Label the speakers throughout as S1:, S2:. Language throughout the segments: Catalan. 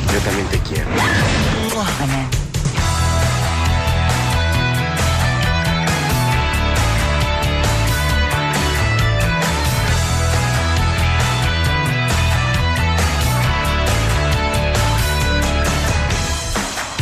S1: intensamente quiero.
S2: Bueno.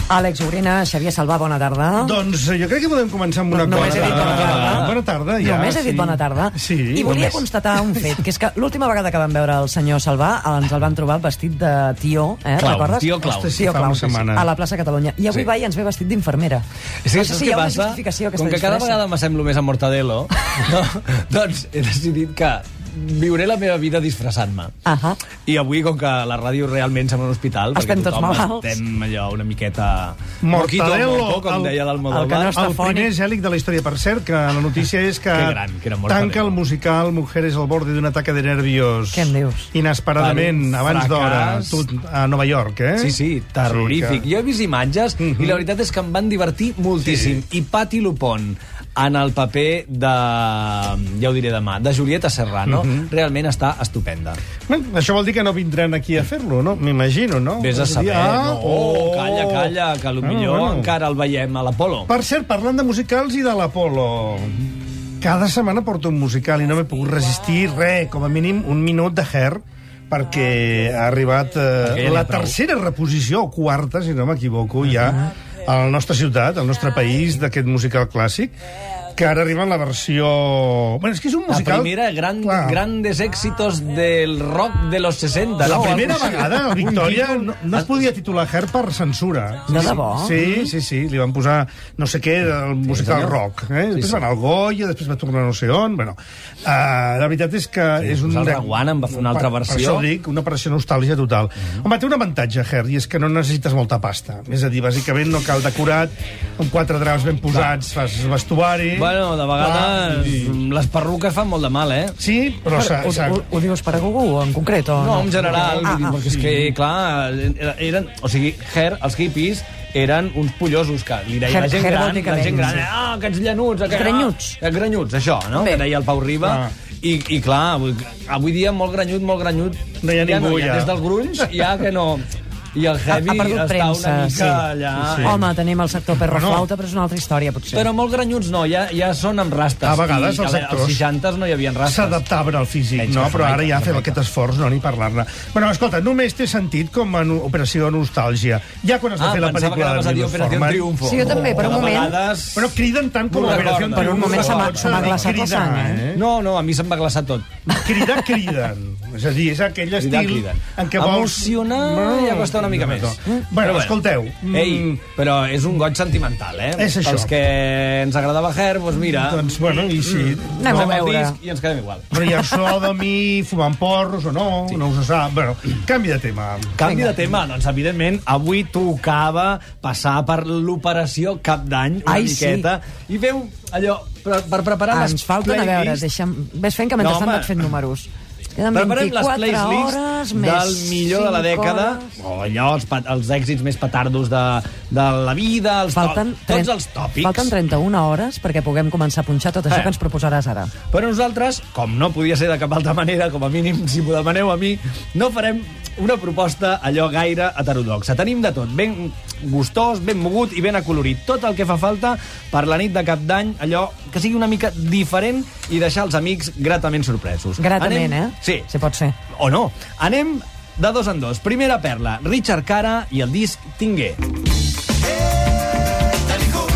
S2: Àlex Orena, Xavier Salvà, bona tarda.
S3: Doncs eh, jo crec que podem començar amb una
S2: Només
S3: cosa. Ah,
S2: he dit bona tarda.
S3: Bona tarda, ja.
S2: Només he dit
S3: sí.
S2: bona tarda.
S3: Sí.
S2: I volia
S3: només.
S2: constatar un fet, que és que l'última vegada que vam veure el senyor Salvà ens el van trobar vestit de tió, eh?
S4: Clau,
S2: Recordes?
S4: tió Clau.
S3: Ostres, sí, fa una
S2: sí, sí,
S3: setmana.
S2: a la plaça Catalunya. I avui
S4: Sí.
S2: va i ens ve vestit d'infermera.
S4: És que
S2: no
S4: saps
S2: sé si
S4: què
S2: hi ha una
S4: passa?
S2: justificació a aquesta
S4: Com que cada
S2: disfressa.
S4: vegada m'assemblo més a Mortadelo, no? doncs he decidit que viuré la meva vida disfressant-me.
S2: Ahà.
S4: I avui, com que la ràdio realment sembla un hospital... perquè
S2: Estem tots
S4: tothom
S2: malalts.
S4: Estem allò una miqueta...
S3: Mortadelo,
S4: Moquito, moco,
S3: el-
S4: com deia
S2: el que
S4: l'Almodóvar.
S2: no està
S3: El
S2: fònic.
S3: primer gèlic de la història, per cert, que la notícia és que,
S4: Que gran, que era molt
S3: tanca
S4: valent.
S3: el musical Mujeres al borde d'un ataque de nervios.
S2: Què em dius?
S3: Inesperadament,
S4: Per un
S3: abans d'hora,
S4: fracàs.
S3: tot a Nova York, eh?
S4: Sí, sí, terrorífic.
S3: Sí, Mhm.
S4: Jo he vist imatges i la veritat és que em van divertir moltíssim. I Patti Lupon en el paper de... ja ho diré demà, de Julieta Serrano,
S3: Mhm.
S4: realment està estupenda.
S3: Que... Bueno, Això vol dir que no vindran aquí a fer-lo, no? M'imagino, no?
S4: Vés a saber...
S3: Ah,
S4: no, oh, calla, calla, que
S3: Ah,
S4: potser encara el veiem a l'Apolo.
S3: Per cert, parlant de musicals i de l'Apolo... Cada setmana porto un musical i no m'he pogut resistir res, com a mínim un minut de Hair, perquè ha arribat
S4: ja
S3: eh,
S4: n'hi ha
S3: la
S4: prou.
S3: tercera reposició, o quarta, si no m'equivoco, ja a la nostra ciutat, al nostre país, d'aquest musical clàssic, que ara arriba en la versió... Bueno, és que és un
S4: La
S3: musical...
S4: primera, gran,
S3: Clar.
S4: grandes éxitos del rock de los 60.
S3: La
S4: no?
S3: primera
S4: Algo així.
S3: vegada, Victòria,
S4: Un
S3: no,
S4: títol-
S3: no es podia titular Hair per censura.
S2: De debò?
S3: Sí, sí, sí, li van posar no sé què, el musical
S4: senyor.
S3: rock. Eh? Després va anar al Goya, després va tornar no sé on. Bueno, uh, la veritat és que és un...
S4: El Raguana en va fer una altra
S3: per,
S4: versió. Mhm.
S3: Per això dic, una operació nostàlgia total. Home, té un avantatge, Hair, i és que no necessites molta pasta. És a dir, bàsicament no cal decorat, amb quatre draps ben posats fas vestuari...
S4: Bueno, de
S3: Clar,
S4: vegades
S3: vull dir-
S4: les perruques fan molt de mal, eh?
S3: Sí, però... s'ha-
S2: Ho,
S3: s'ha-
S2: ho, ho dius per a Gugu, en concret? O
S4: No, en
S2: Ah,
S4: general, vull dir,
S2: ah.
S4: perquè és que, clar, era- eren, o sigui, Her, els hippies, eren uns pollosos que li deia
S2: Her-
S4: la gent
S2: Her vol
S4: gran,
S2: dir que
S4: la gent
S2: venis,
S4: gran,
S2: sí.
S4: ah, aquests llanuts, aquests
S2: Granyuts.
S4: Ah, granyuts, això, no?
S2: Bé.
S4: Que deia el Pau Riba.
S3: Ah.
S4: I, I clar, avui, avui dia molt granyut, molt granyut.
S3: No hi ha ningú, ja.
S4: Des del grunys, ja que no... I el heavy
S2: ha perdut
S4: està
S2: premsa,
S4: una mica
S2: sí.
S4: allà...
S3: Sí, sí.
S2: Home, tenim el sector perroflauta, però és una altra història, potser.
S4: Però molt granyuts no, ja, ja són amb rastes.
S3: A vegades els
S4: I, a veure,
S3: actors
S4: Als 60 no hi havia rastes.
S3: s'adaptaven al físic,
S4: Menys
S3: no?
S4: que
S3: Però ara
S4: Jamaica,
S3: ja fem
S4: Jamaica.
S3: aquest esforç, no, ni parlar-ne. Bueno, escolta, només té sentit com a no- operació nostàlgia. Ja quan es va
S4: Ah,
S3: fer la
S4: pensava que
S3: pel·lícula
S4: anaves a
S3: de
S4: dir Operació
S3: Transformers...
S4: Triunfo.
S2: Sí, jo també, per un
S4: De
S2: moment.
S4: vegades-
S3: Però criden tant com
S4: No
S3: a Operació Triunfo.
S4: recordo. Per un moment
S3: que
S4: se m'ha-
S3: pots
S4: se m'ha
S2: glaçat la
S3: cridar,
S2: sang, eh?
S4: No, no, a mi se'm va glaçar tot.
S3: Cridar, criden. És a dir, és aquell
S4: Cridar,
S3: estil
S4: criden.
S3: en què vols...
S4: Emocionar ja costa una mica més.
S3: Bueno, bueno, escolteu... mm,
S4: Ei, però és un goig sentimental, eh?
S3: És això.
S4: Pels que ens agradava Her, doncs mira,
S3: Doncs, bueno, i si...
S2: Anem a
S4: posem el
S2: veure.
S4: disc i ens quedem igual.
S3: Però hi ha so de mi, fumant porros o no, no us ho sap. Bueno, canvi de tema.
S4: Canvi de tema, doncs evidentment avui tocava passar per l'operació cap d'any una
S2: Ai, sí.
S4: miqueta i feu allò per, per preparar les
S2: Ens falten, a veure,
S4: playlists
S2: deixa'm... Ves fent que mentrestant
S4: No, home.
S2: vaig fent números. Queden
S4: Preparem les
S2: 24
S4: playlists
S2: hores més
S4: del millor de la
S2: cinc
S4: dècada,
S2: hores.
S4: o allò, els, pa- els èxits més petardos de, de la vida, els
S2: Falten,
S4: to,
S2: tren-
S4: tots els tòpics.
S2: falten 31 hores perquè puguem començar a punxar tot això
S4: Eh.
S2: que ens proposaràs ara.
S4: Però nosaltres, com no podia ser de cap altra manera, com a mínim, si m'ho demaneu a mi, no farem una proposta allò gaire heterodoxa. Tenim de tot, ben gustós, ben mogut i ben acolorit. Tot el que fa falta per la nit de cap d'any, allò que sigui una mica diferent i deixar els amics gratament sorpresos.
S2: Gratament,
S4: Anem...
S2: eh?
S4: Sí.
S2: Si pot ser.
S4: O no. Anem de dos en dos. Primera perla, Richard Cara i el disc Tingué.
S5: Dalico,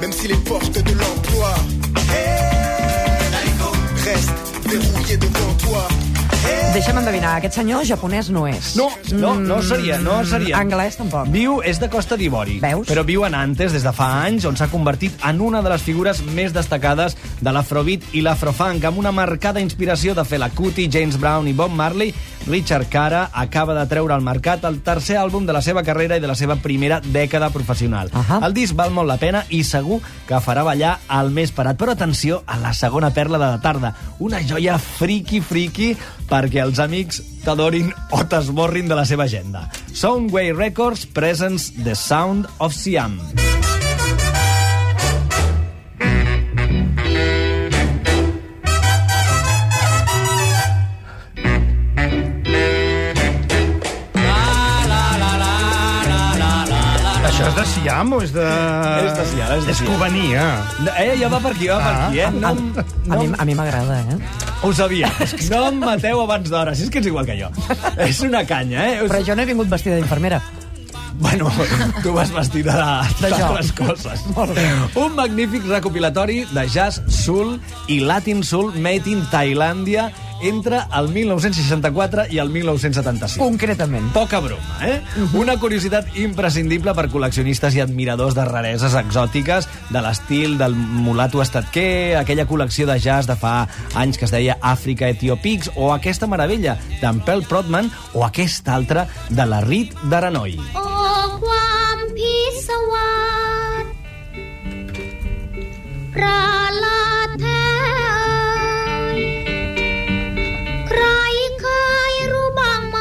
S5: même si les portes de l'emploi hey, Dalico, restent verrouillées devant toi.
S2: Deixa'm endevinar, aquest senyor japonès no és. Mm,
S4: No, no, no seria, no seria.
S2: Anglès tampoc.
S4: Viu, és de Costa d'Ivori,
S2: Veus?
S4: però viu a Nantes des de fa anys, on s'ha convertit en una de les figures més destacades de l'afrobeat i l'afrofunk, amb una marcada inspiració de Fela Kuti, James Brown i Bob Marley. Richard Cara acaba de treure al mercat el tercer àlbum de la seva carrera i de la seva primera dècada professional.
S2: Ahà.
S4: El disc val molt la pena i segur que farà ballar el més parat. Però atenció a la segona perla de la tarda, una joia friqui-friqui perquè els amics t'adorin o t'esborrin de la seva agenda. Soundway Records presents The Sound of Siam. La, la, la, la,
S3: Siam o és de...
S4: És de Siam, és de
S3: És
S4: Siam.
S3: cubania.
S4: No, eh, ja va per aquí, va per
S3: Ah.
S4: aquí, eh?
S2: A,
S4: No, em-
S2: a
S4: no,
S2: mi
S4: em-
S2: a mi m'agrada, eh?
S4: ho sabia. No em mateu abans d'hora, si és que ets igual que jo. És una canya, eh?
S2: Però jo no he vingut vestida d'infermera.
S4: Bueno, tu vas vestida de-
S2: De jo.
S4: d'altres coses.
S2: Molt bé.
S4: Un magnífic recopilatori de jazz soul i latin soul made in Tailàndia entre el 1964 i el 1975.
S2: Concretament.
S4: Poca broma, eh?
S2: Mhm.
S4: Una curiositat imprescindible per col·leccionistes i admiradors de rareses exòtiques de l'estil del mulato estatquer, aquella col·lecció de jazz de fa anys que es deia Àfrica Etiopics, o aquesta meravella d'en Pel Protman, o aquesta altra de la Rit d'Aranoi.
S1: โอ้ความพิศวาสประหลาดแท้เอ่ยใครเคยรู้บ้างไหม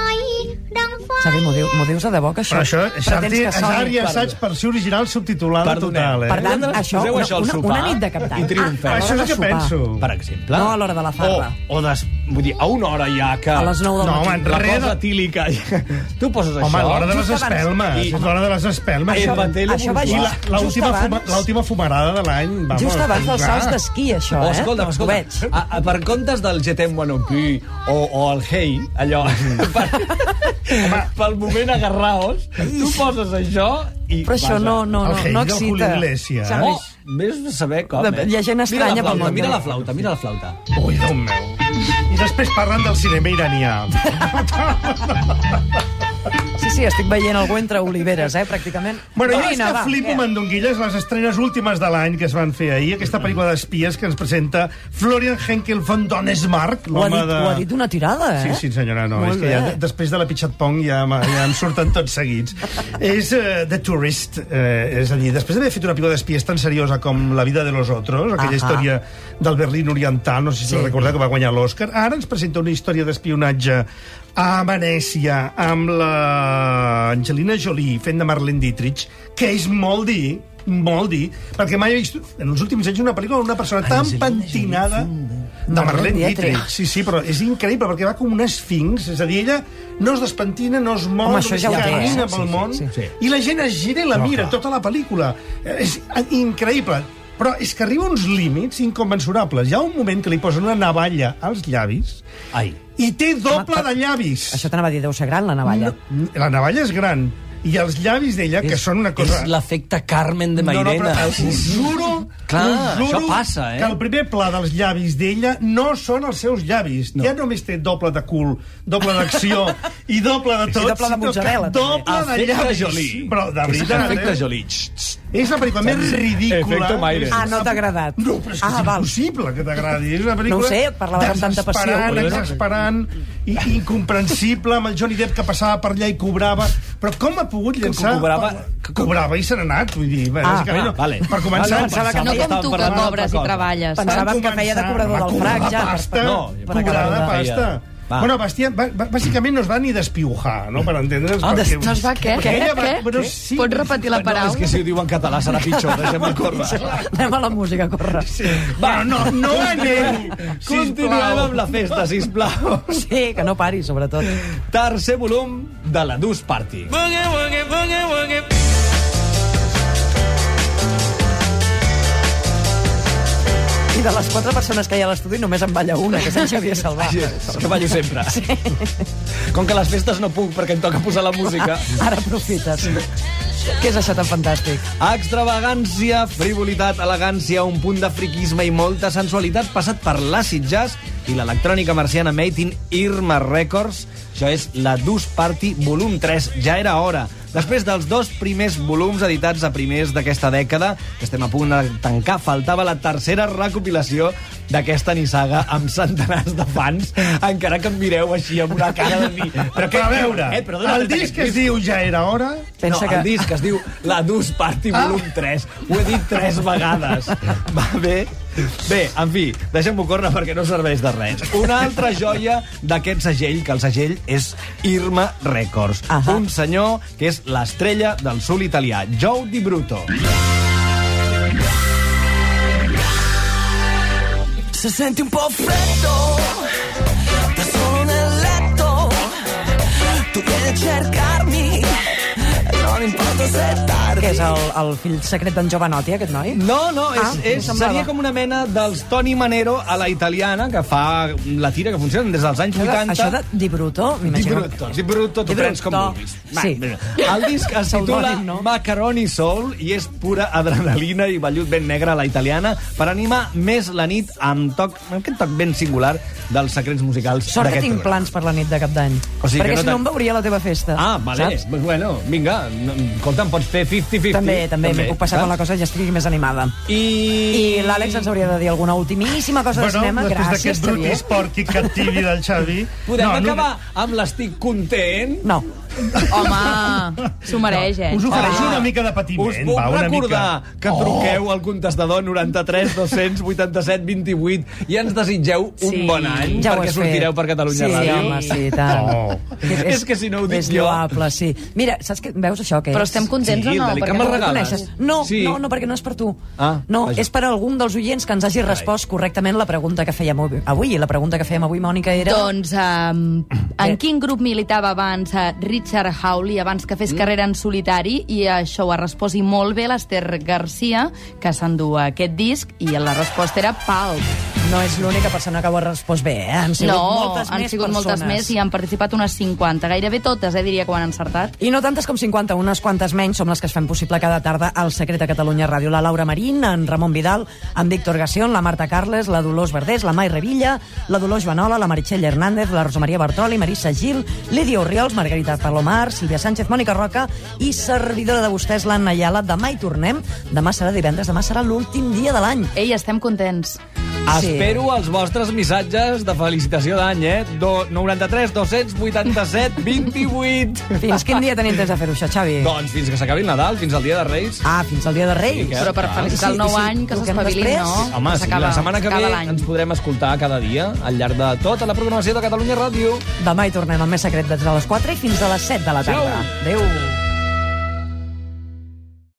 S1: ดังไฟ
S2: Xavi, m'ho diu, m'ho dius de debò, que això...
S3: Però això és
S2: pretens
S3: àrea,
S2: que
S3: és
S2: soni
S3: àrea
S2: per-
S3: assaig versió original subtitulada total, eh?
S2: Per tant,
S4: Vosaltres
S2: això,
S4: poseu
S2: una-
S4: això al
S2: una-
S4: sopar
S2: una nit de Cap d'Any.
S4: I triomfem.
S2: Ah,
S3: Això és el que
S2: Sopar.
S3: penso.
S4: per exemple.
S2: No, a l'hora de la farra.
S4: O, o des, vull dir, a una hora ja que...
S2: A les 9 del
S3: No,
S2: matí.
S3: home,
S4: La
S3: Enrere.
S4: cosa etílica. Tu poses
S3: Home,
S4: això...
S3: l'hora de les
S2: just abans.
S3: espelmes.
S4: I-
S3: És l'hora de les espelmes.
S4: Això-
S3: Això-
S4: Mantell
S2: això va
S3: I la-
S2: just, just
S3: l'última fuma-
S2: abans,
S3: l'última fumarada de l'any. vamos,
S2: just abans dels
S3: clar.
S2: salts d'esquí, això,
S4: Oh,
S2: eh?
S4: escolta'm,
S2: Ho
S4: escolta'm.
S2: veig.
S4: A, a, per comptes del Jetem Wanopi o, o el Hey, allò...
S2: Mm.
S4: Per, pel moment agarraos, tu poses això i...
S2: Però això
S4: vaja.
S2: no, no,
S3: El
S2: no,
S3: Heidi
S2: no
S3: del Julio
S2: excita.
S3: Iglesias.
S4: Oh,
S2: Saps?
S4: vés a saber com,
S2: De-
S4: eh?
S2: hi ha gent estranya
S4: mira la
S2: pel
S4: flauta,
S2: món,
S4: Mira
S2: eh?
S4: la flauta, mira la flauta.
S3: Ui, Déu meu. I després parlen del cinema iranià.
S2: Sí, sí, estic veient algú entre oliveres, eh, pràcticament.
S3: Bueno, jo és
S2: Vine,
S3: que
S2: va,
S3: flipo
S2: què?
S3: mandonguilles les estrenes últimes de l'any que es van fer ahir, aquesta pel·lícula d'espies que ens presenta Florian Henkel von Donesmark,
S2: Ho ha,
S3: l'home
S2: dit,
S3: de...
S2: ho ha dit una tirada, eh?
S3: Sí, sí, senyora, no.
S2: Molt
S3: és que ja,
S2: bé.
S3: després de la pitxat pong ja, m'ha- ja em surten tots seguits. és uh, The Tourist, uh, és a dir, després d'haver fet una pel·lícula d'espies tan seriosa com La vida de los otros, aquella
S2: Ahà.
S3: història del Berlín oriental, no sé si sí. la recordeu, que va guanyar l'Oscar, ara ens presenta una història d'espionatge a Venècia amb la Angelina Jolie fent de Marlene Dietrich, que és molt dir, molt dir, perquè mai he vist en els últims anys una pel·lícula d'una persona tan pentinada de Marlene Dietrich. Sí, sí, però és increïble, perquè va com un esfinx, és a dir, ella no es despentina, no es mou,
S2: Home, això
S3: només
S2: ja ho té,
S3: camina
S2: eh?
S3: pel
S2: Sí,
S3: món,
S2: sí,
S4: sí.
S3: i la gent es gira i la mira tota la pel·lícula. Eh, És increïble. Però és que arriba a uns límits inconmensurables. Hi ha un moment que li posen una navalla als llavis
S4: Ai.
S3: i té doble de llavis.
S2: Això t'anava a dir, deu ser gran, la navalla.
S3: No, la navalla és gran. I els llavis d'ella, que són una cosa...
S4: És l'efecte Carmen de
S3: No, no,
S4: Mairena.
S3: però us juro,
S4: Clar,
S3: us juro
S4: això passa, eh?
S3: que el primer pla dels llavis d'ella no són els seus llavis. No. Ja només té doble de cul, doble d'acció i doble de tot.
S2: I doble de
S3: sinó que
S2: mozzarella,
S3: Doble de
S4: Efecte
S3: llavis.
S4: Jolie.
S3: Però de veritat,
S4: Efecte
S3: eh?
S4: Jolie. Txt, txt.
S3: És la pel·lícula més ridícula.
S4: Efecte Maire.
S2: Ah, no t'ha agradat.
S3: No, però és
S2: ah,
S3: que ah, és
S2: val.
S3: impossible que t'agradi. És una pel·lícula
S2: No ho sé, et parlava amb tanta passió.
S3: Desesperant,
S2: Bueno,
S3: exasperant, i, i incomprensible, amb el Johnny Depp que passava per allà i cobrava. Però com ha pogut llançar...
S4: cobrava-
S3: que cobrava i se n'ha anat, vull dir. bé,
S2: Ah,
S3: és que,
S4: ah,
S3: no,
S4: vale.
S3: Per començar...
S4: Vale, pensava Estàvem
S6: No com tu, que
S4: parlant d'altra
S6: cobres i
S4: cosa.
S6: treballes.
S2: Pensàvem que feia de cobrador del frac, ja. per-
S3: Pasta,
S4: No,
S3: no,
S4: per acabar
S3: cobrada
S4: de-
S3: pasta.
S4: Va.
S3: Va. Bueno, Bastia, va- va- bàsicament no es va ni despiujar, no?, per entendre'ns.
S4: Ah,
S3: perquè-
S4: des-
S6: No es va què?
S3: Perquè
S6: Què?
S3: ella va-
S6: Què?
S3: bueno, sí.
S6: Pots repetir la
S4: No, és que
S6: paraula?
S4: si ho diu en català serà pitjor, deixem-ho córrer.
S2: Anem a la música, corre. Sí,
S3: Va, no, no aneu!
S4: Continuem
S3: sisplau.
S4: amb la festa, sisplau.
S2: que no pari, sobretot.
S4: Tercer volum de la Dus Party.
S2: I de les quatre persones que hi ha a l'estudi, només en balla una, que és en Xavier Salvà.
S4: Sí, és que ballo sempre. Sí. Com que a les festes no puc perquè em toca posar la música.
S2: Ara aprofites. Què és això tan fantàstic?
S4: Extravagància, frivolitat, elegància, un punt de friquisme i molta sensualitat passat per l'àcid jazz i l'electrònica marciana made in Irma Records. Això és la Dus Party volum 3. Ja era hora. Després dels dos primers volums editats a primers d'aquesta dècada, que estem a punt de tancar, faltava la tercera recopilació d'aquesta nissaga amb centenars de fans, encara que em mireu així amb una cara de dir...
S3: Però què, a veure,
S4: eh, però d'on ha
S3: el
S4: tret
S3: disc
S4: aquest
S3: que es diu Ja era hora...
S2: Pensa
S4: no,
S2: que- Ah.
S4: el disc es diu La Dus Party Volum 3. Ho he dit tres vegades. Va bé? Bé, en fi, deixem-ho córrer perquè no serveix de res. Una altra joia d'aquest segell, que el segell és Irma Records.
S2: Ahà.
S4: Un senyor que és l'estrella del sul italià, Joe Di Bruto.
S7: Se sente un po' freddo, da solo nel letto. Tu vieni a cercarmi, no no m'importa ser tard.
S2: Que és el, el fill secret d'en Jovanotti, aquest noi?
S4: No, no, és,
S2: Ah, em
S4: és,
S2: semblava.
S4: seria com una mena dels Tony Manero a la italiana, que fa la tira que funciona des dels anys
S2: Això de,
S4: 80.
S2: això de Di Bruto, m'imagino. que-
S4: Di Brutto, tu
S2: Di
S4: prens com
S2: Brutto,
S4: vulguis.
S2: sí.
S4: Va, el disc es titula
S2: Pseudònim, no?
S4: Macaroni Soul i és pura adrenalina i vellut ben negre a la italiana per animar més la nit amb, toc, amb aquest toc ben singular dels secrets musicals
S2: Sort que
S4: d'aquest
S2: tinc
S4: programa.
S2: plans per la nit de cap d'any.
S4: O sigui que
S2: perquè
S4: no
S2: si no
S4: t'ha-
S2: em veuria a la teva festa.
S4: Ah, vale.
S2: Saps?
S4: Bueno, vinga, no, escolta, em pots fer 50-50.
S2: També, també, m'hi puc passar
S4: saps?
S2: quan la cosa ja estigui més animada. I, I l'Àlex ens hauria de dir alguna ultimíssima cosa de cinema.
S3: després
S2: Gràcies,
S3: d'aquest brut
S2: Xavier.
S3: esporqui captivi del Xavi...
S4: Podem
S3: no, no-
S4: acabar amb l'estic content?
S2: No.
S6: Home, s'ho mereix, eh?
S3: Us ofereixo
S6: Home.
S3: una mica de patiment,
S4: Ah. Us puc
S3: va, una mica.
S4: recordar
S3: Oh.
S4: que truqueu al contestador 93 287 28 i ens desitgeu un
S6: Sí.
S4: bon any
S2: Ja ho
S4: perquè
S2: has
S4: sortireu
S2: fet.
S4: per Catalunya
S2: sí,
S4: Ràdio.
S2: home, sí, i tant.
S3: Oh.
S4: És que si no ho dic
S2: és
S4: jo.
S2: lloable, sí. Mira, saps que veus això que
S6: Però
S2: és?
S6: estem contents
S4: Sí,
S6: o no?
S4: Dali, que
S6: Perquè
S4: me'l
S6: no ho
S4: regales.
S6: coneixes.
S2: No,
S4: Sí.
S2: no, no, perquè no és per tu.
S4: Ah,
S2: no,
S4: vaja.
S2: és per algun dels oients que ens hagi respost correctament la pregunta que fèiem avui- avui. I la pregunta que fèiem avui, Mònica, era...
S6: Doncs, um, en quin grup militava abans eh, Richard Hawley, abans que fes
S2: Mm.
S6: carrera en solitari, i això ho ha respost i molt bé l'Ester Garcia, que s'endú aquest disc, i la resposta era Pulp.
S2: No és l'única persona que ho ha respost bé, eh? Han sigut
S6: No,
S2: moltes
S6: han
S2: més
S6: sigut
S2: persones.
S6: moltes més i han participat unes 50, gairebé totes, eh, diria que ho han encertat.
S2: I no tantes com 50, unes quantes menys som les que es fan possible cada tarda al Secret a Catalunya Ràdio. La Laura Marín, en Ramon Vidal, en Víctor Gacion, la Marta Carles, la Dolors Verdés, la Mai Revilla, la Dolors Banola, la Meritxell Hernández, la Rosa Maria Bartoli, Marisa Gil, Lídia Oriols, Margarita Palomar, Sílvia Sánchez, Mònica Roca i servidora de vostès, l'Anna Ayala. Demà hi tornem. Demà serà divendres, demà serà l'últim dia de l'any.
S6: Ei, estem contents.
S2: Sí.
S4: Espero els vostres missatges de felicitació d'any, eh? Do 93 287 28.
S2: Fins quin dia tenim temps de fer-ho, això, Xavi?
S4: doncs fins que s'acabi el Nadal, fins al Dia de Reis.
S2: Ah, fins al dia de Reis.
S4: Sí,
S6: Però per
S4: Ah,
S6: felicitar el nou any, que
S2: truquem
S6: s'espavilin,
S2: després.
S6: no?
S4: Home, sí,
S6: S'acaba-
S4: la setmana que ve
S6: s'acaba l'any.
S4: ens podrem escoltar cada dia al llarg de tota la programació de Catalunya Ràdio.
S2: Demà hi tornem amb més secret des de les 4 i fins a les 7 de la tarda. Adéu.